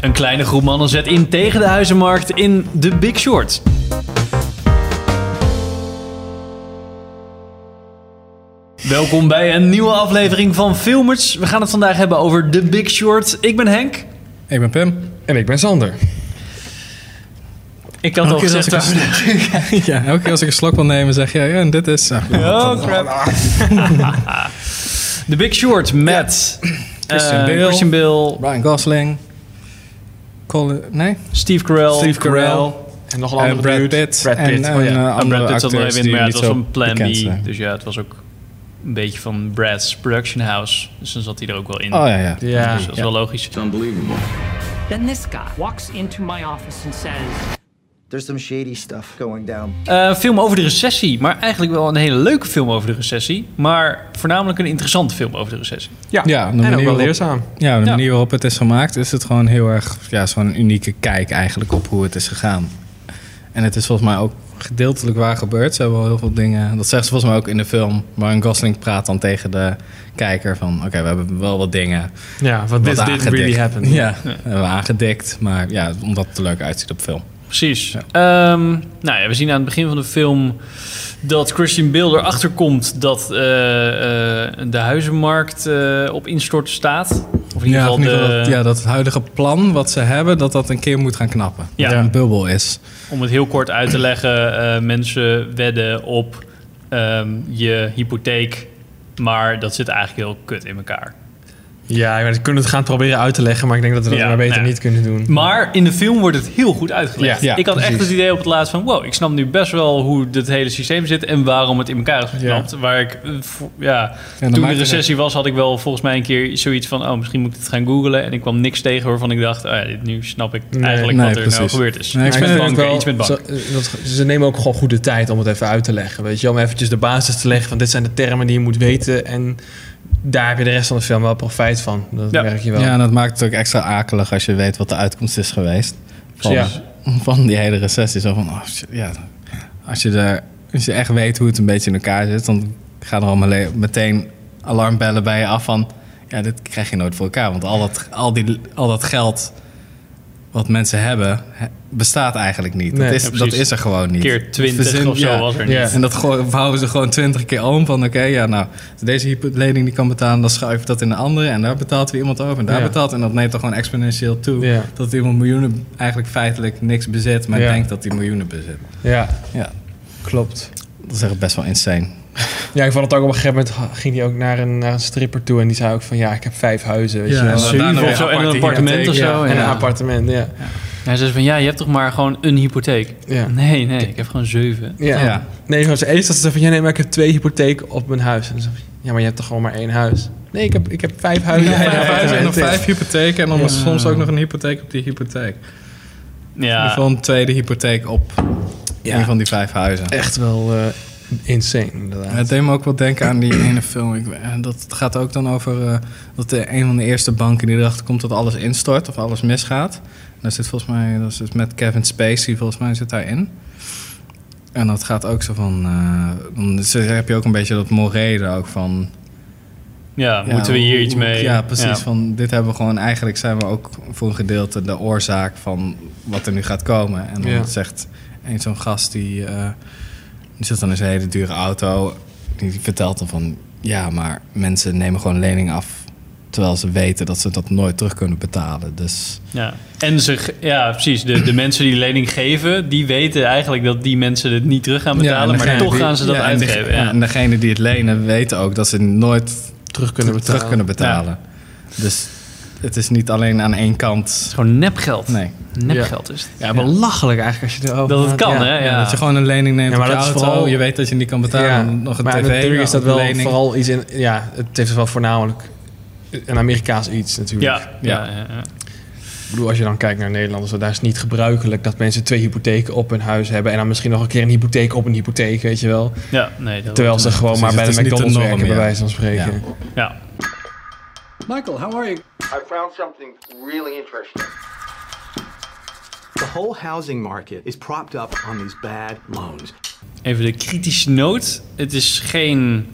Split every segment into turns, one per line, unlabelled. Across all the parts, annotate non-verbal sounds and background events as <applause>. Een kleine groep mannen zet in tegen de huizenmarkt in The Big Short. Welkom bij een nieuwe aflevering van Filmers. We gaan het vandaag hebben over The Big Short. Ik ben Henk.
Ik ben Pim.
En ik ben Sander.
Ik had al
Elke keer
gezegd...
als ik
dat-
<laughs> Ja, elke keer als ik een slok wil nemen zeg je, ja, en dit is... Ah,
Oh, crap. <laughs> The Big Short met...
Christian
eh,
Bale.
Christian Bale,
Brian Gosling. Colin... Nee?
Steve Carell.
Steve Carell.
En nog een
En
andere
Brad
dude.
Pitt.
Brad Pitt.
En,
oh, ja.
en, eh,
En
andere
Brad Pitt zat er
acteurs
even in,
die
maar ja, het
niet
was
zo
van Plan B.
bekend zijn.
Dus ja, het was ook een beetje van Brad's production house. Dus dan zat hij er ook wel in.
Oh ja, ja.
eh, Ja.
Dus dat is wel logisch.
Then this guy walks into my office and says,
There's some shady stuff going down.
Eh, film over de recessie. Maar eigenlijk wel een hele leuke film over de recessie. Maar voornamelijk een interessante film over de recessie.
Ja,
Ja, de
en ook
manier
wel
waarop-
leerzaam.
Ja, de
Ja.
manier waarop het is gemaakt is het gewoon heel erg... Ja, zo'n unieke kijk eigenlijk op hoe het is gegaan. En het is volgens mij ook gedeeltelijk waar gebeurd. Ze hebben wel heel veel dingen... Dat zegt ze volgens mij ook in de film. Brian Gosling praat dan tegen de kijker van... Oké, we hebben wel wat dingen
Ja, want
wat
this didn't
aangedikt.
really happen.
<laughs> Ja, hebben we aangedikt. Maar ja, omdat het er leuk uitziet op film.
Precies. Ehm, nou ja, we zien aan het begin van de film dat Christian Bale erachter komt dat eh, eh, de huizenmarkt eh, op instorten staat. Of in ieder
Ja,
geval
in ieder geval
de-
dat, ja, dat het huidige plan wat ze hebben, dat dat een keer moet gaan knappen.
Ja.
Dat er een bubbel is.
Om het heel kort uit te leggen, eh, mensen wedden op ehm, je hypotheek, maar dat zit eigenlijk heel kut in elkaar.
<laughs> Ja, maar ze kunnen het gaan proberen uit te leggen, maar ik denk dat we dat
Ja,
maar beter
nou ja.
niet kunnen doen.
Maar in de film wordt het heel goed uitgelegd.
Ja, ja,
ik had echt
precies.
het idee op het laatst van, wow, ik snap nu best wel hoe dit hele systeem zit en waarom het in elkaar is geknapt. Waar ik, eh, vo- ja,
dan
toen de
maakt het
recessie was, had ik wel volgens mij een keer zoiets van, oh, misschien moet ik het gaan googlen. En ik kwam niks tegen waarvan ik dacht, oh ja, dit, nu snap ik
Nee,
eigenlijk
nee,
wat er nou
precies.
gebeurd is.
Nee, ik
iets
vind
met
het
banken, iets met banken.
Zo- eh, dat, ze nemen ook gewoon goede tijd om het even uit te leggen, weet je wel. Om eventjes de basis te leggen van dit zijn de termen die je moet weten en daar heb je de rest van de film wel profijt van. Dat
Ja.
merk je wel.
Ja, en dat maakt het ook extra akelig als je weet wat de uitkomst is geweest. Van,
Ja.
van die hele recessie. Zo van, oh, shit, ja, als, je er, als je echt weet hoe het een beetje in elkaar zit, dan gaan er al mele- meteen alarmbellen bij je af van... Ja, dit krijg je nooit voor elkaar. Want al dat, al die, al dat geld wat mensen hebben, he- bestaat eigenlijk niet.
Nee,
dat, is,
ja,
dat
precies.
is er gewoon niet.
Keer 20
Verzin-
of zo
ja.
was er niet.
Ja.
En dat gooi- houden ze gewoon twintig keer om. Van oké, ja, nou, als deze hypo- lening die kan betalen, dan schuiven we dat in de andere. En daar betaalt weer iemand over. En daar
Ja.
betaalt. En dat neemt dan gewoon exponentieel toe.
Ja.
Dat iemand miljoenen eigenlijk feitelijk niks bezit. Maar
Ja.
denkt dat hij miljoenen bezit.
ja,
Ja,
klopt.
dat is echt best wel insane.
Ja, ik vond het ook op een gegeven moment ha- ging hij ook naar een, naar een stripper toe en die zei ook van ja, ik heb vijf huizen, weet
Ja,
je wel.
en
Ja,
daarna
Zeven
weer
of zo, en
aparte
een appartement of
hypotheek,
zo.
en
ja.
een appartement, Oh, ja.
Hij zei van, ja, je hebt toch maar gewoon een hypotheek?
Ja.
Nee, nee, ik heb gewoon zeven.
Ja.
Ja.
Nee, gewoon zijn eerste dat ze zei van... Ja, nee, maar ik heb twee hypotheken op mijn huis. En dan zeg ik, ja, maar je hebt toch gewoon maar één huis? Nee, ik heb, ik heb vijf huizen.
Vijf
Vijf
huizen en nog
huizen.
vijf hypotheken. En dan is soms ook nog een hypotheek op die hypotheek. In ieder
Ja,
geval een tweede hypotheek op een van die vijf huizen.
Echt wel eh, insane, inderdaad.
Het deed me ook wel denken aan die ene film. Ik, eh, dat gaat ook dan over eh, dat de, een van de eerste banken die erachter komt dat alles instort of alles misgaat. En daar zit volgens mij, dat zit met Kevin Spacey, volgens mij zit daarin. En dat gaat ook zo van, eh, dan is- heb je ook een beetje dat morele ook van...
ja,
ja,
moeten we hier
hoe-
iets
Nou, hoe-
mee?
Ja, precies.
Ja.
Van dit hebben we gewoon, eigenlijk zijn we ook voor een gedeelte de oorzaak van wat er nu gaat komen. En dan
Ja.
zegt een zo'n gast die, eh, die zit dan in zijn hele dure auto, die vertelt dan van ja, maar mensen nemen gewoon leningen af. Terwijl ze weten dat ze dat nooit terug kunnen betalen. Dus
Ja. En ze, ge- ja, precies. De, de mensen die lening geven, die weten eigenlijk dat die mensen het niet terug gaan betalen. maar toch gaan ze dat
ja, en die-
uitgeven. Ja.
En degene die het lenen weten ook dat ze nooit
terug kunnen betalen.
terug kunnen betalen. Dus het is niet alleen aan één kant.
Het is gewoon nepgeld.
Nee.
Nepgeld is het.
Ja, belachelijk eigenlijk als je erover
Dat het
na-
kan,
ja.
hè? Ja.
Ja, dat je gewoon een lening neemt
Ja, maar
op je
dat is
auto.
vooral-
Je weet dat je niet kan betalen.
Ja,
Dan Nog een
maar
tv.
natuurlijk
nog
is dat
een
wel
lening.
vooral iets in... Ja, het heeft wel voornamelijk een Amerikaans iets natuurlijk.
Ja, ja. ja, ja.
Ik bedoel, als je dan kijkt naar Nederlanders, daar is het niet gebruikelijk dat mensen twee hypotheken op hun huis hebben en dan misschien nog een keer een hypotheek op een hypotheek, weet je wel.
Ja, nee, dat
Terwijl ze gewoon
precies,
maar bij
Dus het
de
is niet de
McDonald's
norm,
werken, bij
ja.
wijze van spreken.
Ja.
Ja.
Michael, how are you?
I found something really interesting.
The whole housing market is propped up on these bad loans.
Even de kritische noot. Het is geen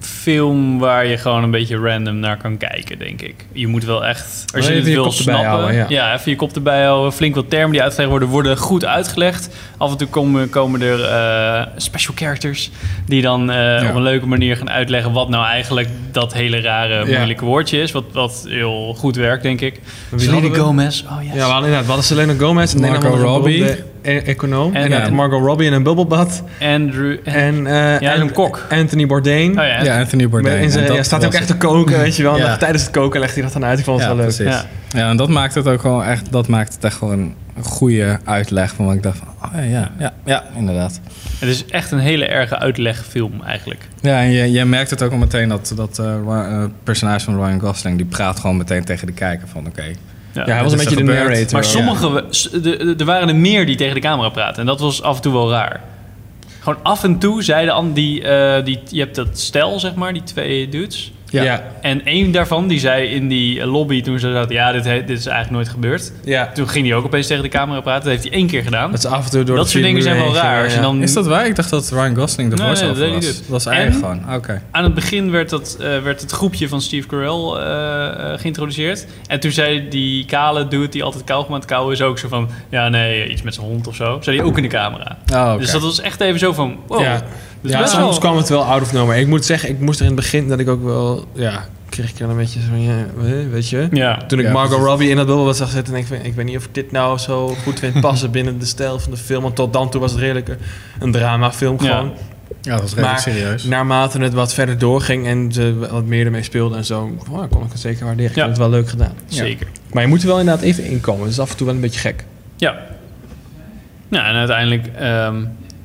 film waar je gewoon een beetje random naar kan kijken, denk ik. Je moet wel echt, als je
Even
het
je
wil
kop erbij
snappen,
houden,
ja.
ja.
even je kop erbij houden. Flink wat termen die uitgelegd worden, worden goed uitgelegd. Af en toe komen, komen er eh, special characters die dan eh, op een leuke manier gaan uitleggen wat nou eigenlijk dat hele rare,
Ja.
moeilijke woordje is. Wat, wat heel goed werkt, denk ik.
Wie
Selena
hadden we?
Gomez, oh yes.
Ja, we hadden inderdaad. We hadden Selena Gomez en
Margot
Margot
Robbie.
Robbie. e- Econoom.
En-
En, eh,
ja.
Margot Robbie in een bubbelbad.
Andrew...
En, eh
Ja,
en-
een kok.
Anthony Bourdain.
oh ja,
Ja, Anthony Bourdain.
In zijn,
En dat
ja, staat ook
was
echt te koken, weet je wel. En
Ja.
dan Tijdens het koken legt hij dat dan uit. Ik vond het
Ja,
wel leuk.
precies.
Ja.
Ja. en dat maakt het ook gewoon echt, dat maakt het echt gewoon een goede uitleg. Van wat ik dacht van, oh ja, ja, ja, ja, inderdaad.
Het is echt een hele erge uitlegfilm eigenlijk.
Ja, en je, je merkt het ook al meteen dat, dat eh, Ry- eh, personage van Ryan Gosling, die praat gewoon meteen tegen de kijker van, oké.
Ja, hij was een
Dit is
beetje de
er gebeurd.
narrator.
Maar
ook.
sommige, we- s- de- de- er waren er meer die tegen de camera praten. En dat was af en toe wel raar. Gewoon af en toe zeiden an, die, eh, die, je hebt dat stel, zeg maar, die twee dudes.
Ja. Ja.
En één daarvan, die zei in die eh, lobby toen ze zaten, ja, dit, he- dit is eigenlijk nooit gebeurd.
Ja.
Toen ging hij ook opeens tegen de camera praten. Dat heeft hij één keer gedaan.
Dat
Dat,
is af en toe door de
soort dingen
vier
zijn wel
muur heen
raar. Als je
gaan, ja.
dan
Is dat waar? Ik dacht dat Ryan Gosling de
Nee,
voiceover
nee, dat
was.
deed hij dus.
Dat was eigenlijk
En?
gewoon, oké.
Aan het begin werd, dat, eh, werd het groepje van Steve Carell eh, eh, geïntroduceerd. En toen zei die kale dude die altijd kauwgom aan het kauwen is ook zo van... Ja, nee, iets met zijn hond of zo. Zei die ook in de camera.
Oh, oké.
Dus dat was echt even zo van... Wow.
Ja.
Dus
ja,
best
soms
wel-
kwam het wel out of nowhere. Ik moet zeggen, ik moest er in het begin dat ik ook wel... Ja, kreeg ik er een beetje zo van, ja, eh, weet je.
Ja.
Toen ik
Ja,
Margot
precies.
Robbie in dat bubbelbad zag zitten... en ik, van, ik weet niet of ik dit nou zo goed vind passen binnen de stijl van de film. Want tot dan toe was het redelijk een- een dramafilm
Ja.
gewoon.
Ja, dat was redelijk
Maar
serieus.
naarmate het wat verder doorging en ze wat meer ermee speelde en zo... oh, kon ik het zeker waarderen. Ik
Ja.
vind het wel leuk gedaan.
Zeker.
Maar je moet er wel inderdaad even inkomen. dus Dat is af en toe wel een beetje gek.
Ja. Nou, en uiteindelijk ehm,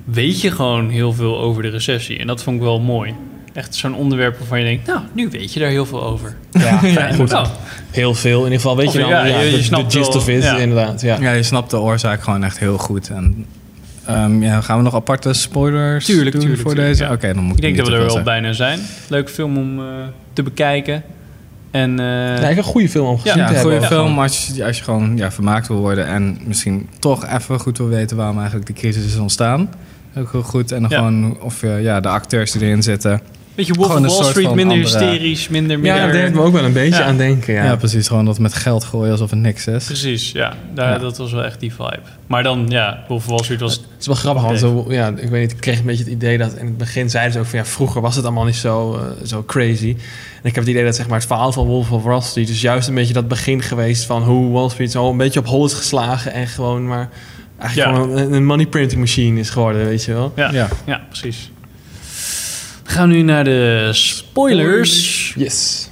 weet je gewoon heel veel over de recessie. En dat vond ik wel mooi. Echt zo'n onderwerp waarvan je denkt... Nou, nu weet je daar heel veel over. <laughs>
Ja, goed.
Nou,
Heel veel. In ieder geval weet
Of
je
ja,
dan
je- je
de- de,
snapt
gist
wel,
of it,
ja.
inderdaad. Ja.
Ja, je snapt de oorzaak gewoon echt heel goed. En, ehm, ja, gaan we nog aparte spoilers
Tuurlijk,
doen
tuurlijk,
voor
tuurlijk,
deze?
ja.
Oké, dan moet
Ik
ik
denk
niet
dat we
te
er wel
veel zeggen.
bijna zijn. Leuke film om eh, te bekijken. En eh,
Ja, ik heb een goede film om gezien
Ja,
te
Ja,
hebben.
goede
Ja.
film als je, als je gewoon ja, vermaakt wil worden en misschien toch even goed wil weten waarom eigenlijk de crisis is ontstaan. Ook heel goed. En dan
Ja.
gewoon of je, ja, de acteurs die erin zitten.
beetje Wolf
Gewoon
of
een
Wall
soort
Street,
van
minder
andere-
hysterisch, minder...
Ja,
minder
daar deed ik me ook wel een beetje
Ja.
aan denken.
Ja.
Ja.
precies. Gewoon dat met geld gooien alsof het niks is.
Precies, ja. Daar,
Ja.
Dat was wel echt die vibe. Maar dan, ja, Wolf of Wall Street was...
Het is wel grappig, want zo- ja, ik weet niet, ik kreeg een beetje het idee dat in het begin zeiden ze ook van ja, vroeger was het allemaal niet zo, eh, zo crazy. En ik heb het idee dat zeg maar het verhaal van Wolf of Wall Street is juist een beetje dat begin geweest van hoe Wall Street zo een beetje op hol is geslagen en gewoon maar eigenlijk
Ja.
gewoon een, een money printing machine is geworden, weet je wel.
Ja, ja.
Ja.
precies. We gaan nu naar de spoilers.
Yes.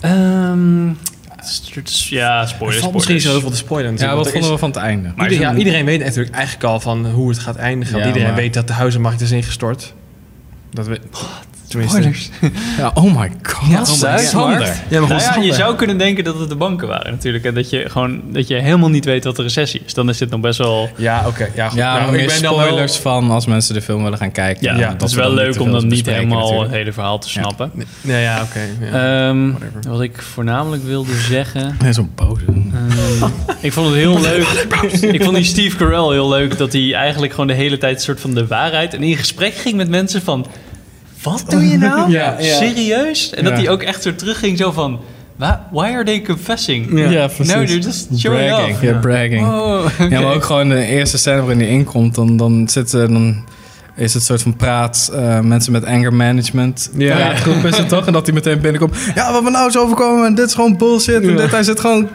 Ehm, st- ja, spoilers,
Er valt
spoilers.
misschien niet zo heel veel te spoileren
Ja, wat
natuurlijk, want er
vonden
is-
we van het einde?
Maar
Ieder-
zo'n-
ja, iedereen weet natuurlijk eigenlijk al van hoe het gaat eindigen. want
Ja,
iedereen
maar-
weet dat de huizenmarkt is ingestort. Dat we... Tenminste.
Ja, oh my god.
Ja, Sander. Ja, maar
Nou ja,
goed,
je zou kunnen denken dat het de banken waren natuurlijk. En dat je gewoon dat je helemaal niet weet wat de recessie is. Dan is dit nog best wel...
Ja, oké. ja,
Ah,
goed.
Ja,
Nou,
maar meer
dan wel-
spoilers van als mensen de film willen gaan kijken.
Ja,
Dat
het is
we
wel
dan
leuk
te
om
veel
dan niet
bespreken
helemaal het
natuurlijk.
hele verhaal te
Ja.
snappen.
Nee, ja, oké. ja.
Ehm,
Whatever.
wat ik voornamelijk wilde <laughs> zeggen...
Hij is zo'n boze.
Ik vond het
<laughs>
heel leuk. Ik vond die Steve Carell heel leuk dat hij eigenlijk gewoon de hele tijd een soort van de waarheid en in gesprek ging met mensen van wat doe
<laughs>
je nou?
Ja, ja.
Serieus? En dat
Ja.
hij ook echt zo terugging zo van "Wa- why are they confessing?
Ja.
Ja, precies.
No, they're just showing
bragging.
off.
Ja, bragging.
Oh, oké.
Ja, maar ook gewoon de eerste scène waarin hij inkomt, dan, dan, zit, eh, dan is het een soort van praat, eh, mensen met anger management.
Ja.
Ja, groep is het toch? En dat hij meteen binnenkomt. Ja, wat me nou is overkomen en dit is gewoon bullshit. En
Ja.
dit, hij zit gewoon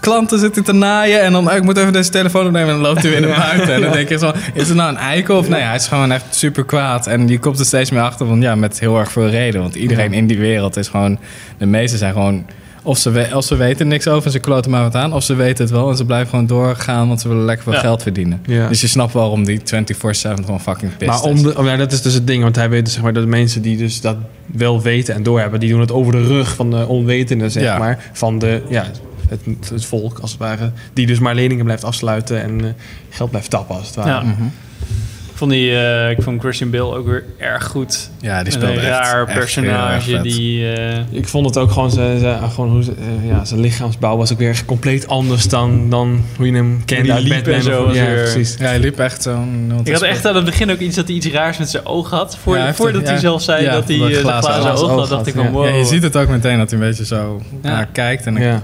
klanten zitten te naaien en dan, eh, ik moet even deze telefoon opnemen en dan loopt hij weer naar buiten. En dan denk je zo, is het nou een eikel of nee, hij is gewoon echt super kwaad. En je komt er steeds meer achter van, ja, met heel erg veel reden. Want iedereen in die wereld is gewoon, de meesten zijn gewoon... Of ze, we- of ze weten niks over en ze kloten maar wat aan. Of ze weten het wel en ze blijven gewoon doorgaan, want ze willen lekker veel
Ja.
geld verdienen.
Ja.
Dus je snapt waarom die 24-7 gewoon fucking pissed
Maar om
is.
de, oh, ja, dat is dus het ding, want hij weet dus, zeg maar, dat de mensen die dus dat wel weten en doorhebben, die doen het over de rug van de onwetenden, zeg
Ja.
maar, van de, ja, het, het volk
mhm.
als het ware, die dus maar leningen blijft afsluiten en eh, geld blijft tappen als het ware.
Ja. Ik vond vond die, eh, ik vond Christian Bill ook weer erg goed.
Ja, die
Met
speelde
een
echt-
raar
echt
personage
heel erg vet.
die... eh,
Ik vond het ook gewoon, zijn, zijn, gewoon hoe ze- eh, ja, zijn lichaamsbouw was ook weer compleet anders dan, dan hoe je hem kende
die
uit
liep
Batman.
en zo
of-
was
ja,
weer-
precies.
Ja, hij liep echt eh, zo'n... want
ik had
hij
echt aan het begin ook iets dat hij iets raars met zijn oog had. Voor,
Ja, hij heeft
voordat
een-
hij
ja.
zelf zei
Ja,
dat hij
dat
eh, de
glazen
glazen
oog
oog had,
had,
dacht ik
ja.
van wow.
Ja, je ziet het ook meteen dat hij een beetje zo naar kijkt. En dan-
Ja.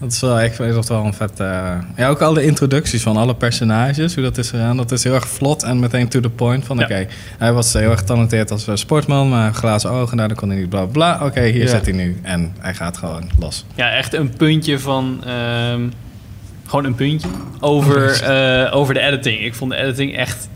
dat is wel echt is wel een vet... eh, ja, ook al de introducties van alle personages, hoe dat is gedaan. Dat is heel erg vlot en meteen to the point. Van
Ja.
oké, hij was heel erg talenteerd als eh, sportman, maar glazen ogen, nou, dan kon hij niet bla bla. Oké, hier
Ja.
zit hij nu. En hij gaat gewoon los.
Ja, echt een puntje van. ehm, gewoon een puntje. Over,
<laughs>
eh, over de editing. Ik vond de editing echt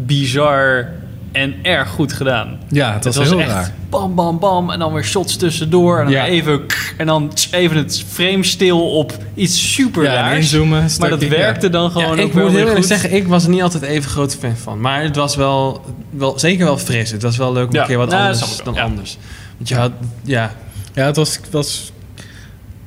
bizar en erg goed gedaan.
Ja, het was, heel
echt
raar.
bam, bam, bam. En dan weer shots tussendoor. En dan
Ja.
even... kk, En dan tss, even het frame stil op iets super
Ja, en
raars.
inzoomen,
maar
stukje,
dat
ja.
werkte dan gewoon
Ja,
ook
ik moet
wel
heel
weer goed.
eerlijk zeggen, ik was er niet altijd even grote fan van. Maar het was wel, wel zeker wel fris. Het was wel leuk om
Ja.
een keer wat
Ja, dat snap
anders
ik wel,
dan
ja.
anders. Want je had, ja,
Ja, het was, het was...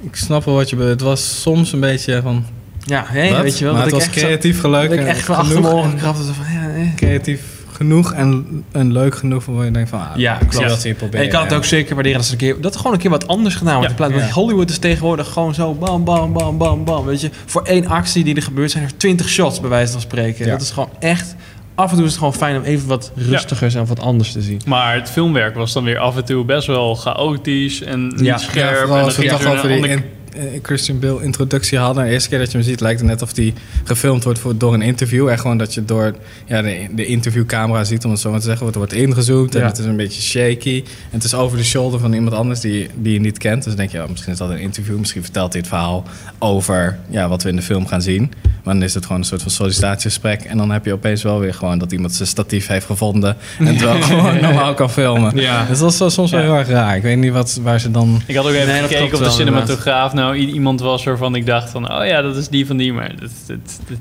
Ik snap wel wat je... be- Het was soms een beetje van...
ja, nee,
wat?
weet je wel.
maar
dat
het was
ik echt zo-
creatief geleuk.
Dat ik
en
echt van
genoeg
achter mijn
en-
oren gekrapt was van, ja, nee.
creatief genoeg en, en leuk genoeg waarvan je denkt van ah,
Ja,
ik wil
klopt.
dat hier
En
proberen.
ik kan het ook zeker waarderen dat ze een keer, dat er gewoon een keer wat anders gedaan wordt.
Ja.
in plaats, want
Ja.
Hollywood is tegenwoordig gewoon zo bam, bam, bam, bam, bam. Weet je, voor één actie die er gebeurt zijn er twintig shots, bij wijze van spreken.
Ja.
Dat is gewoon echt, af en toe is het gewoon fijn om even wat rustigers en wat anders te zien.
Maar het filmwerk was dan weer af en toe best wel chaotisch en niet
Ja,
ja,
scherp.
vooral
en
als we
ging
het toch
weer
over
een
die
ander-
in- eh, Christian Bill introductie hadden. De eerste keer dat je hem ziet lijkt het net of die gefilmd wordt voor, door een interview. En gewoon dat je door ja, de, de interviewcamera ziet, om het zo maar te zeggen. Want er wordt ingezoomd en
Ja.
het is een beetje shaky. En het is over de shoulder van iemand anders die, die je niet kent. Dus dan denk je, oh, misschien is dat een interview. Misschien vertelt hij het verhaal over ja, wat we in de film gaan zien. Maar dan is het gewoon een soort van sollicitatiegesprek. En dan heb je opeens wel weer gewoon dat iemand zijn statief heeft gevonden. En
<laughs>
terwijl gewoon normaal kan filmen.
Ja.
Dus dat is wel soms wel
Ja.
heel erg raar. Ik weet niet wat, waar ze dan...
Ik had ook even
Nee, dat
gekeken
klopt
op de
wel, inderdaad.
cinematograaf. Nou, i- iemand was waarvan ik dacht van... Oh ja, dat is die van die. Maar dat, dat, dat,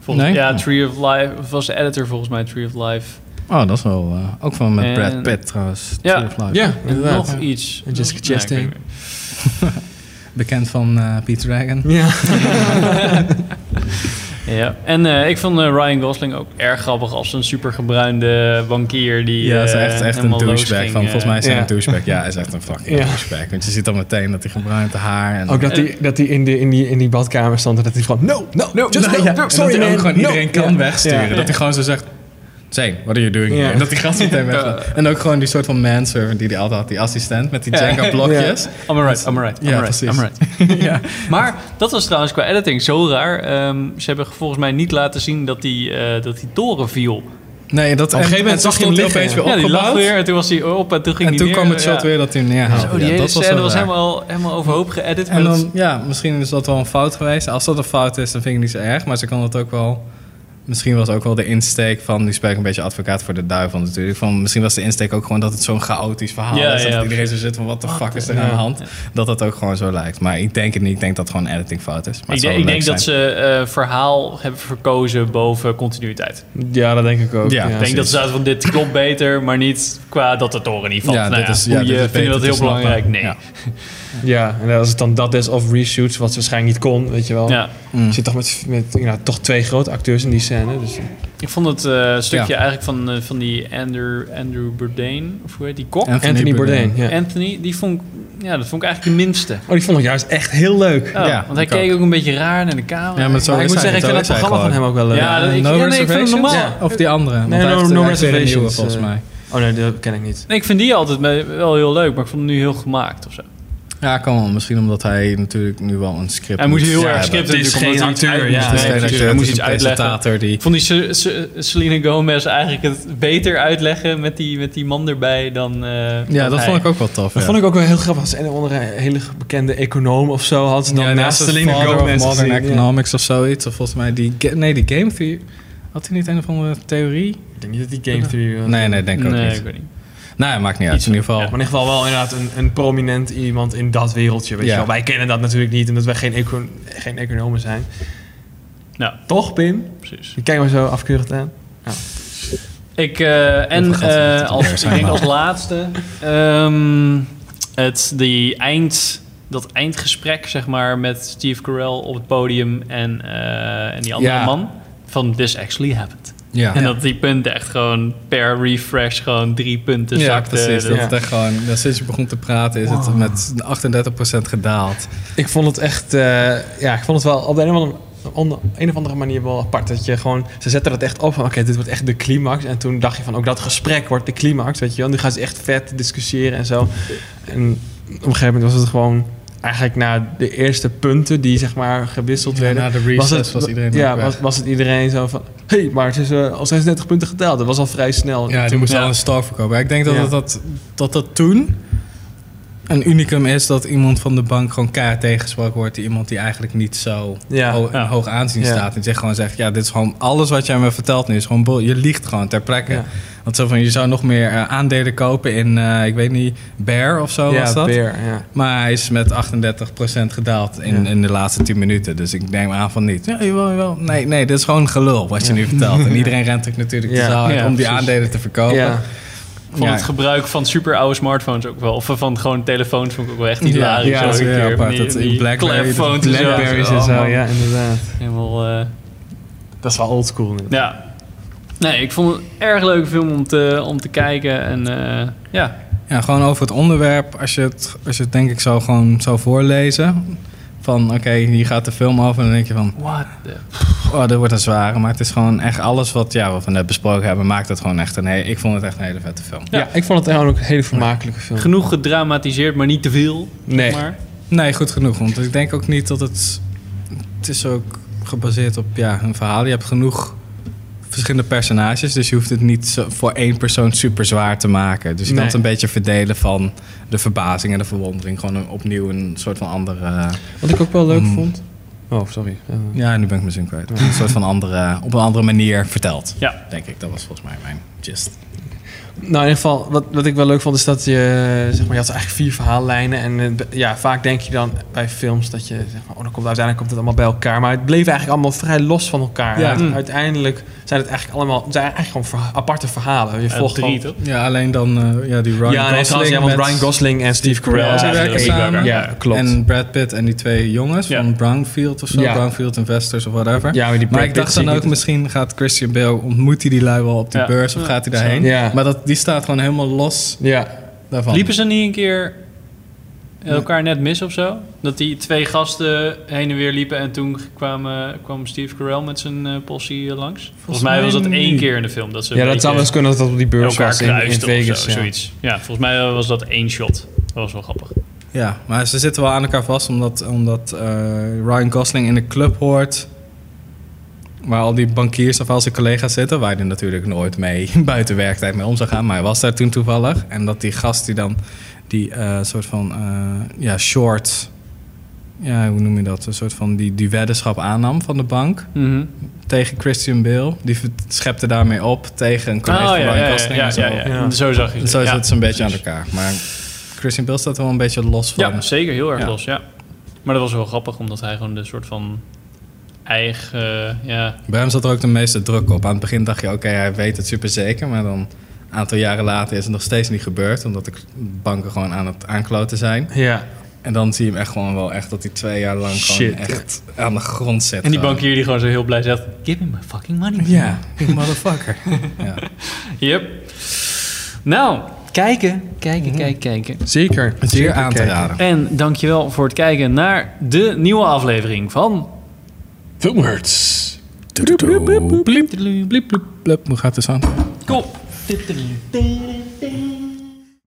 volgens,
Nee?
Ja,
Oh.
Tree of Life. Of was de editor volgens mij Tree of Life.
Oh, dat is wel... eh, ook van met
En-
Brad Pitt trouwens.
Ja.
Tree of Life.
Ja,
En
inderdaad.
nog iets.
En
Nee,
Jessica
ik weet
Chastain.
niet meer.
Bekend van eh Peter Dragon.
Ja.
Ja. En eh, ik vond eh, Ryan Gosling ook erg grappig als een supergebruinde bankier die
Ja, dat is
eh,
echt, echt een
helemaal
douchebag.
losging, eh.
van, volgens mij is hij
ja.
een douchebag. Ja, hij is echt een fucking
Ja.
douchebag. Want je ziet dan meteen dat hij gebruind haar... <laughs> En, Nou
Ook dat hij dat die in, die, in, die, in die badkamer stond en dat hij gewoon, no, no, no, just no,
ja, en
no,
dat
sorry
hij
man,
ook gewoon
no.
iedereen kan
Ja.
wegsturen.
Ja.
Dat hij gewoon zo zegt... Zijn, what are you doing
Ja.
here? En dat die gast meteen weg.
<laughs>
En ook gewoon die soort van manservant die hij altijd had. Die assistent met die
Ja.
Jenga-blokjes.
eh, I'm alright, I'm alright, I'm
Ja,
alright,
precies.
I'm alright.
ja.
Maar dat was trouwens qua editing zo raar. Ehm, ze hebben volgens mij niet laten zien dat die, eh, dat die toren viel.
Nee, dat,
een gegeven
en-
moment
en
zag je
toen
hem
stond hij
liggen.
opeens
Ja, die
weer
lag
opgebouwd.
weer en toen was hij op en toen ging
En
hij
toen
neer.
kwam het shot
Ja.
weer dat hij hem
Zo,
neerhaalde.
die
Oh, Ja,
hele
dat was
scène
wel
was
raar.
helemaal, helemaal overhoop geëdit. maar
En
dat-
dan, ja, misschien is dat wel een fout geweest. Als dat een fout is, dan vind ik het niet zo erg. Maar ze kan het ook wel... Misschien was ook wel de insteek van... Nu spreek ik een beetje advocaat voor de duivel natuurlijk. Van, misschien was de insteek ook gewoon dat het zo'n chaotisch verhaal
Ja,
is.
ja,
dat iedereen zo zit van, wat de fuck is er aan de hand? Dat dat ook gewoon zo lijkt. Maar ik denk het niet. Ik denk dat het gewoon editing fout is. Maar
ik
het zou
denk,
wel
ik denk
leuk
dat
zijn.
ze eh, verhaal hebben verkozen boven continuïteit. Ik
Ja, dat denk ik ook.
Ja.
denk dat ze zaten van dit klopt beter, maar niet qua dat het toren niet valt.
Ja,
nou
dit
ja,
is-
hoe
ja, dit
je
is
vind je
beter
dat
te
heel
snappen.
belangrijk? Nee.
Ja.
Ja.
Ja, en als het dan dat is of reshoots, wat ze waarschijnlijk niet kon, weet je wel. Je zit toch met, met nou, toch twee grote acteurs in die scène. Dus,
Ik vond het eh, stukje
Ja.
eigenlijk van, eh, van die Andrew, Andrew Bourdain, of hoe heet die kok?
Anthony
Anthony,
Bourdain.
Bourdain, ja.
Anthony, die vond, ik- ja, dat vond ik eigenlijk de minste.
oh, die vond ik juist echt heel leuk.
Oh,
Ja,
want hij
ik ook.
keek ook een beetje raar naar de camera.
Ja, maar zo
maar ik
is
moet
hij,
zeggen,
zo
ik vind dat
is hij
programma van
gewoon.
hem ook wel leuk.
Ja, dat- ik-
No
ja, nee, ik vind hem
Reservations?
normaal.
Ja, Of die andere. want
Nee,
hij
no-
heeft,
No
hij heeft weer een nieuwe,
Reservations,
volgens
eh.
mij.
Oh nee, dat ken ik niet.
Nee, ik vind die altijd me- wel heel leuk, maar ik vond hem nu heel gemaakt of zo.
Ja, kan wel. Misschien omdat hij natuurlijk nu wel een script
Hij moet heel
ja,
erg
hebben.
scripten
het is
natuurlijk, omdat
geen
hij
acteur,
iets uit-
ja.
Dus
nee,
hij
precies,
zegt,
hij
het
moest
is
iets
een
uitleggen.
presentator die
Ik vond die Se- Se- Selena Gomez eigenlijk het beter uitleggen met die, met die man erbij dan. eh,
Ja,
dan
dat
hij.
vond ik ook wel tof.
Dat vond ik ook wel heel grappig. Als een onder een hele bekende econoom of zo had ze dan naast Selena Gomez
Modern
gezien, ja.
Economics of zoiets. Of volgens mij die... ga- Nee, die Game Theory... Had hij niet een of andere theorie?
Ik denk niet dat die Game Theory... was.
Nee, nee, denk ik ook
Nee,
niet.
ik weet niet.
Nee, maakt niet uit.
Iets
in ieder geval...
Maar in ieder geval wel inderdaad een, een prominent iemand in dat wereldje. Weet
Ja.
je wel. Wij kennen dat natuurlijk niet, omdat wij geen, eco- geen economen zijn.
Nou,
Toch, Pim?
precies.
Je kijkt me zo afkeurend aan.
Ik, eh, en
Hoeveel geld
eh,
heeft het
als,
weer,
ik
zeg
denk
maar.
als laatste ehm, het, die eind, dat eindgesprek zeg maar, met Steve Carell op het podium en, eh, en die andere
Ja. Ah,
man van This Actually Happened.
Ja.
En dat die punten echt gewoon per refresh gewoon drie punten
ja,
zakten.
precies. Dat
Dat-
het echt gewoon, dat sinds je begon te praten is het met 38% gedaald.
Ik vond het echt, eh, ja, ik vond het wel op de een of andere, op de een of andere manier wel apart. Dat je gewoon, ze zetten dat echt op van, oké, dit wordt echt de climax. En toen dacht je van, ook dat gesprek wordt de climax, weet je wel. Nu gaan ze echt vet discussiëren en zo. En op een gegeven moment was het gewoon, eigenlijk na de eerste punten die zeg maar gewisseld
Ja,
werden.
na de recess was iedereen
Ja,
ook weg.
was, was het iedereen zo van, hé, hey, maar het is eh, al 36 punten geteld. Dat was al vrij snel.
Ja, toen
toen
moest
ja.
al een star verkopen. Ik denk dat,
Ja.
dat, dat, dat dat toen een unicum is dat iemand van de bank gewoon keihard tegengesproken wordt. Die iemand die eigenlijk niet zo
Ja.
ho- in
Ja.
hoog aanzien
Ja.
staat. En zegt gewoon zegt, ja, dit is gewoon alles wat jij me vertelt nu. Is gewoon bull. Je liegt gewoon ter plekke.
Ja.
Want zo van, je zou nog meer eh, aandelen kopen in, eh, ik weet niet, Bear of zo oh, was
ja,
dat.
Beer, ja.
Maar hij is met 38% gedaald in,
Ja.
in de laatste 10 minuten. Dus ik neem aan van niet. Ja, jawel, jawel. Nee, nee, dit is gewoon gelul wat je nu
<laughs>
vertelt. En iedereen rent ook natuurlijk de
Ja.
zaal uit
Ja,
om die
precies.
aandelen te verkopen.
Ja.
Ik vond
Ja.
het gebruik van super oude smartphones ook wel. Of van gewoon telefoons vond ik ook wel echt hilarisch.
ja,
elke
dat is weer
keer.
apart.
Die-
Dat in
die
Blackberry-
clapphones en zo.
Blackberries en zo,
Oh, man.
ja, inderdaad.
Helemaal... eh,
Dat is wel oldschool inderdaad.
ja. Nee, ik vond het een erg leuke film om te, om te kijken. En eh, ja,
Ja, gewoon over het onderwerp. Als je het, als je het denk ik zo gewoon zou voorlezen. Van oké, hier gaat de film over. En dan denk je van,
what the...
oh, dat wordt een zware. Maar het is gewoon echt alles wat, ja, wat we net besproken hebben. Maakt het gewoon echt een hele... Ik vond het echt een hele vette film.
Ja, ik vond het eigenlijk ook een hele vermakelijke film.
Genoeg gedramatiseerd, maar niet te veel. zeg
Nee.
Maar.
Nee, goed genoeg. Want ik denk ook niet dat het... Het is ook gebaseerd op ja, een verhaal. Je hebt genoeg verschillende personages. Dus je hoeft het niet zo- voor één persoon super zwaar te maken. Dus je
Nee.
kan het een beetje verdelen van de verbazing en de verwondering. Gewoon een- opnieuw een soort van andere...
Wat ik ook wel leuk vond. Mm. Oh, sorry. Eh,
Ja, nu ben ik mijn zin kwijt. Een soort van andere... Op een andere manier verteld.
Ja.
Denk ik. Dat was volgens mij mijn gist.
Nou, in ieder geval, wat, wat ik wel leuk vond, is dat je, zeg maar, je had eigenlijk vier verhaallijnen. En eh, b- ja, vaak denk je dan bij films dat je, zeg maar, oh, dan komt, uiteindelijk komt het allemaal bij elkaar. Maar het bleef eigenlijk allemaal vrij los van elkaar.
Ja. Mm.
Uite- Uiteindelijk zijn het eigenlijk allemaal, het zijn eigenlijk gewoon verha- aparte verhalen. Je
Eh,
volgt
drie,
gewoon-
toch?
Ja, alleen dan eh, ja, die Ryan
Ja, nee,
Gosling.
trouwens, ja, want
met-
Ryan Gosling en Steve Carell.
Carell,
zijn
die
eigenlijk
werken
één.
samen.
Ja, klopt.
En Brad Pitt en die twee jongens
Ja.
van Brownfield of zo.
Ja.
Brownfield Investors of whatever.
Ja, maar die Brad
ik dacht
Pitt
dan
zie ik
ook,
niet.
misschien gaat Christian Bale, ontmoet hij die lui wel op die
Ja.
beurs of gaat hij daarheen?
Ja.
Maar dat, die staat gewoon helemaal los
ja,
daarvan.
Liepen ze niet een keer elkaar net mis of zo? Dat die twee gasten heen en weer liepen en toen kwamen, kwam Steve Carell met zijn eh possie eh, langs? Volgens, mij was dat
mij
één
niet.
keer in de film. Dat ze een
ja dat
beetje
zou wel eens kunnen dat dat op die beurs
elkaar
was in, in
kruisten
Vegas.
of zo,
ja.
zoiets. Ja, volgens mij was dat één shot. Dat was wel grappig.
Ja, maar ze zitten wel aan elkaar vast omdat, omdat eh, Ryan Gosling in de club hoort. Waar al die bankiers of al zijn collega's zitten, waar hij natuurlijk nooit mee <laughs> buiten werktijd mee om zou gaan. Maar hij was daar toen toevallig. En dat die gast die dan die eh, soort van eh, ja, short. Ja, hoe noem je dat? Een soort van die, die weddenschap aannam van de bank
Mhm.
tegen Christian Bale. Die ver- schepte daarmee op tegen een collega
Oh,
van
ja,
Ryan
ja, ja,
Gosling.
ja,
en zo.
ja, ja. Zo zag je het.
Zo
ja.
zit ze een beetje aan elkaar. Maar Christian Bale staat er wel een beetje los van.
Ja, zeker. Heel erg
Ja.
los, ja. Maar dat was wel grappig, omdat hij gewoon de soort van eigen... eh, ja,
Bij hem zat er ook de meeste druk op. Aan het begin dacht je, oké, hij weet het super zeker. Maar dan, een aantal jaren later, is het nog steeds niet gebeurd. Omdat de k- banken gewoon aan het aankloten zijn.
Ja.
En dan zie je hem echt gewoon wel echt dat hij twee jaar lang
Shit.
gewoon echt aan de grond zit.
en die
gewoon.
bankier die gewoon zo heel blij zegt... Give me my fucking money.
Ja, die <laughs> motherfucker. ja.
Yep. Nou, kijken, kijken, kijken, kijken.
Zeker.
Zeer aan te
kijken.
raden.
En dankjewel voor het kijken naar de nieuwe aflevering van...
Filmhurts.
Bliep, bliep, bliep, bliep, bliep. Hoe gaat het aan?
Kom.